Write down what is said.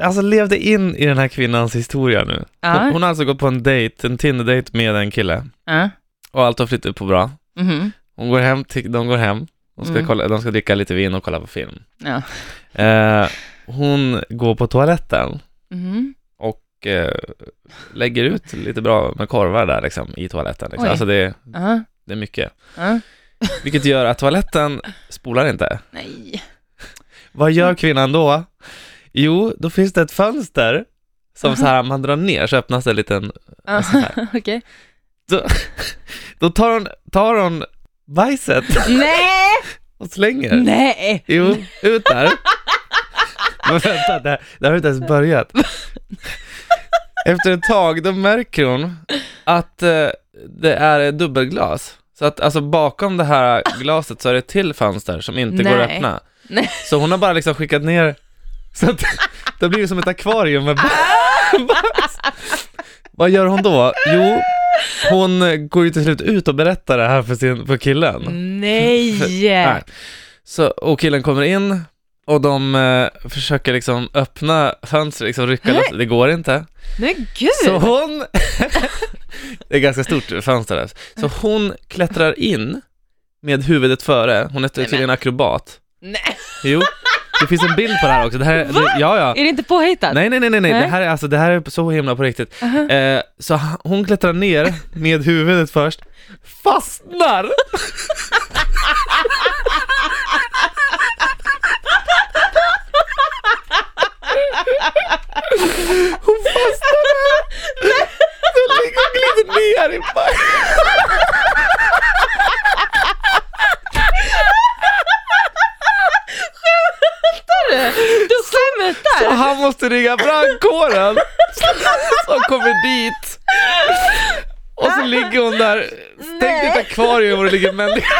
alltså levde in i den här kvinnans historia nu. Hon, Ja. hon har alltså gått på en dejt, en Tinder-dejt med en kille. Ja. Och allt har flyttat på bra. Mhm. Hon går hem, till, de går hem. De ska, Mm. kolla, de ska dricka lite vin och kolla på film. Ja. Eh, hon går på toaletten Mhm. och eh, lägger ut lite bra med korvar där liksom, i toaletten. Liksom. Oj. Alltså det, Ja. det är mycket. Ja. Vilket gör att toaletten spolar inte. Nej. Vad Mm. gör kvinnan då? Jo, då finns det ett fönster som så här, man drar ner så öppnas det en liten... Ja, så här. Okej. Då tar hon, tar hon bajset Nej! och slänger. Nej! Jo, ut där. Mm. Men vänta, det, det har inte ens börjat. Efter ett tag, då märker hon att eh, det är dubbelglas. Så att alltså bakom det här glaset så är det ett till fönster som inte går att Nej. öppna. Nej. Så hon har bara liksom skickat ner, så att det blir som ett akvarium med bajs. Vad gör hon då? Jo, hon eh, går ju till slut ut och berättar det här för, sin, för killen. Nej! Mm. Nej. Så, och killen kommer in och de eh, försöker liksom öppna fönstret, liksom rycka loss, det går inte. Men gud! Så hon, det är ganska stort fönster där, så hon klättrar in med huvudet före, hon är tydligen akrobat. Nej. Jo, det finns en bild på det här också. Det här, det, ja, ja. Är det inte påhittat? Nej, nej, nej, nej, nej, det Nej. här är alltså, det här är så himla på riktigt. Aha. Eh, så h- hon klättrar ner med huvudet först, fastnar! Hon fastnar där! Den ligger och glider ner i bajs! Du skämtar! Och han måste ringa brandkåren som kommer dit. Och så ligger hon där, stängt i ett akvarium och det ligger människor.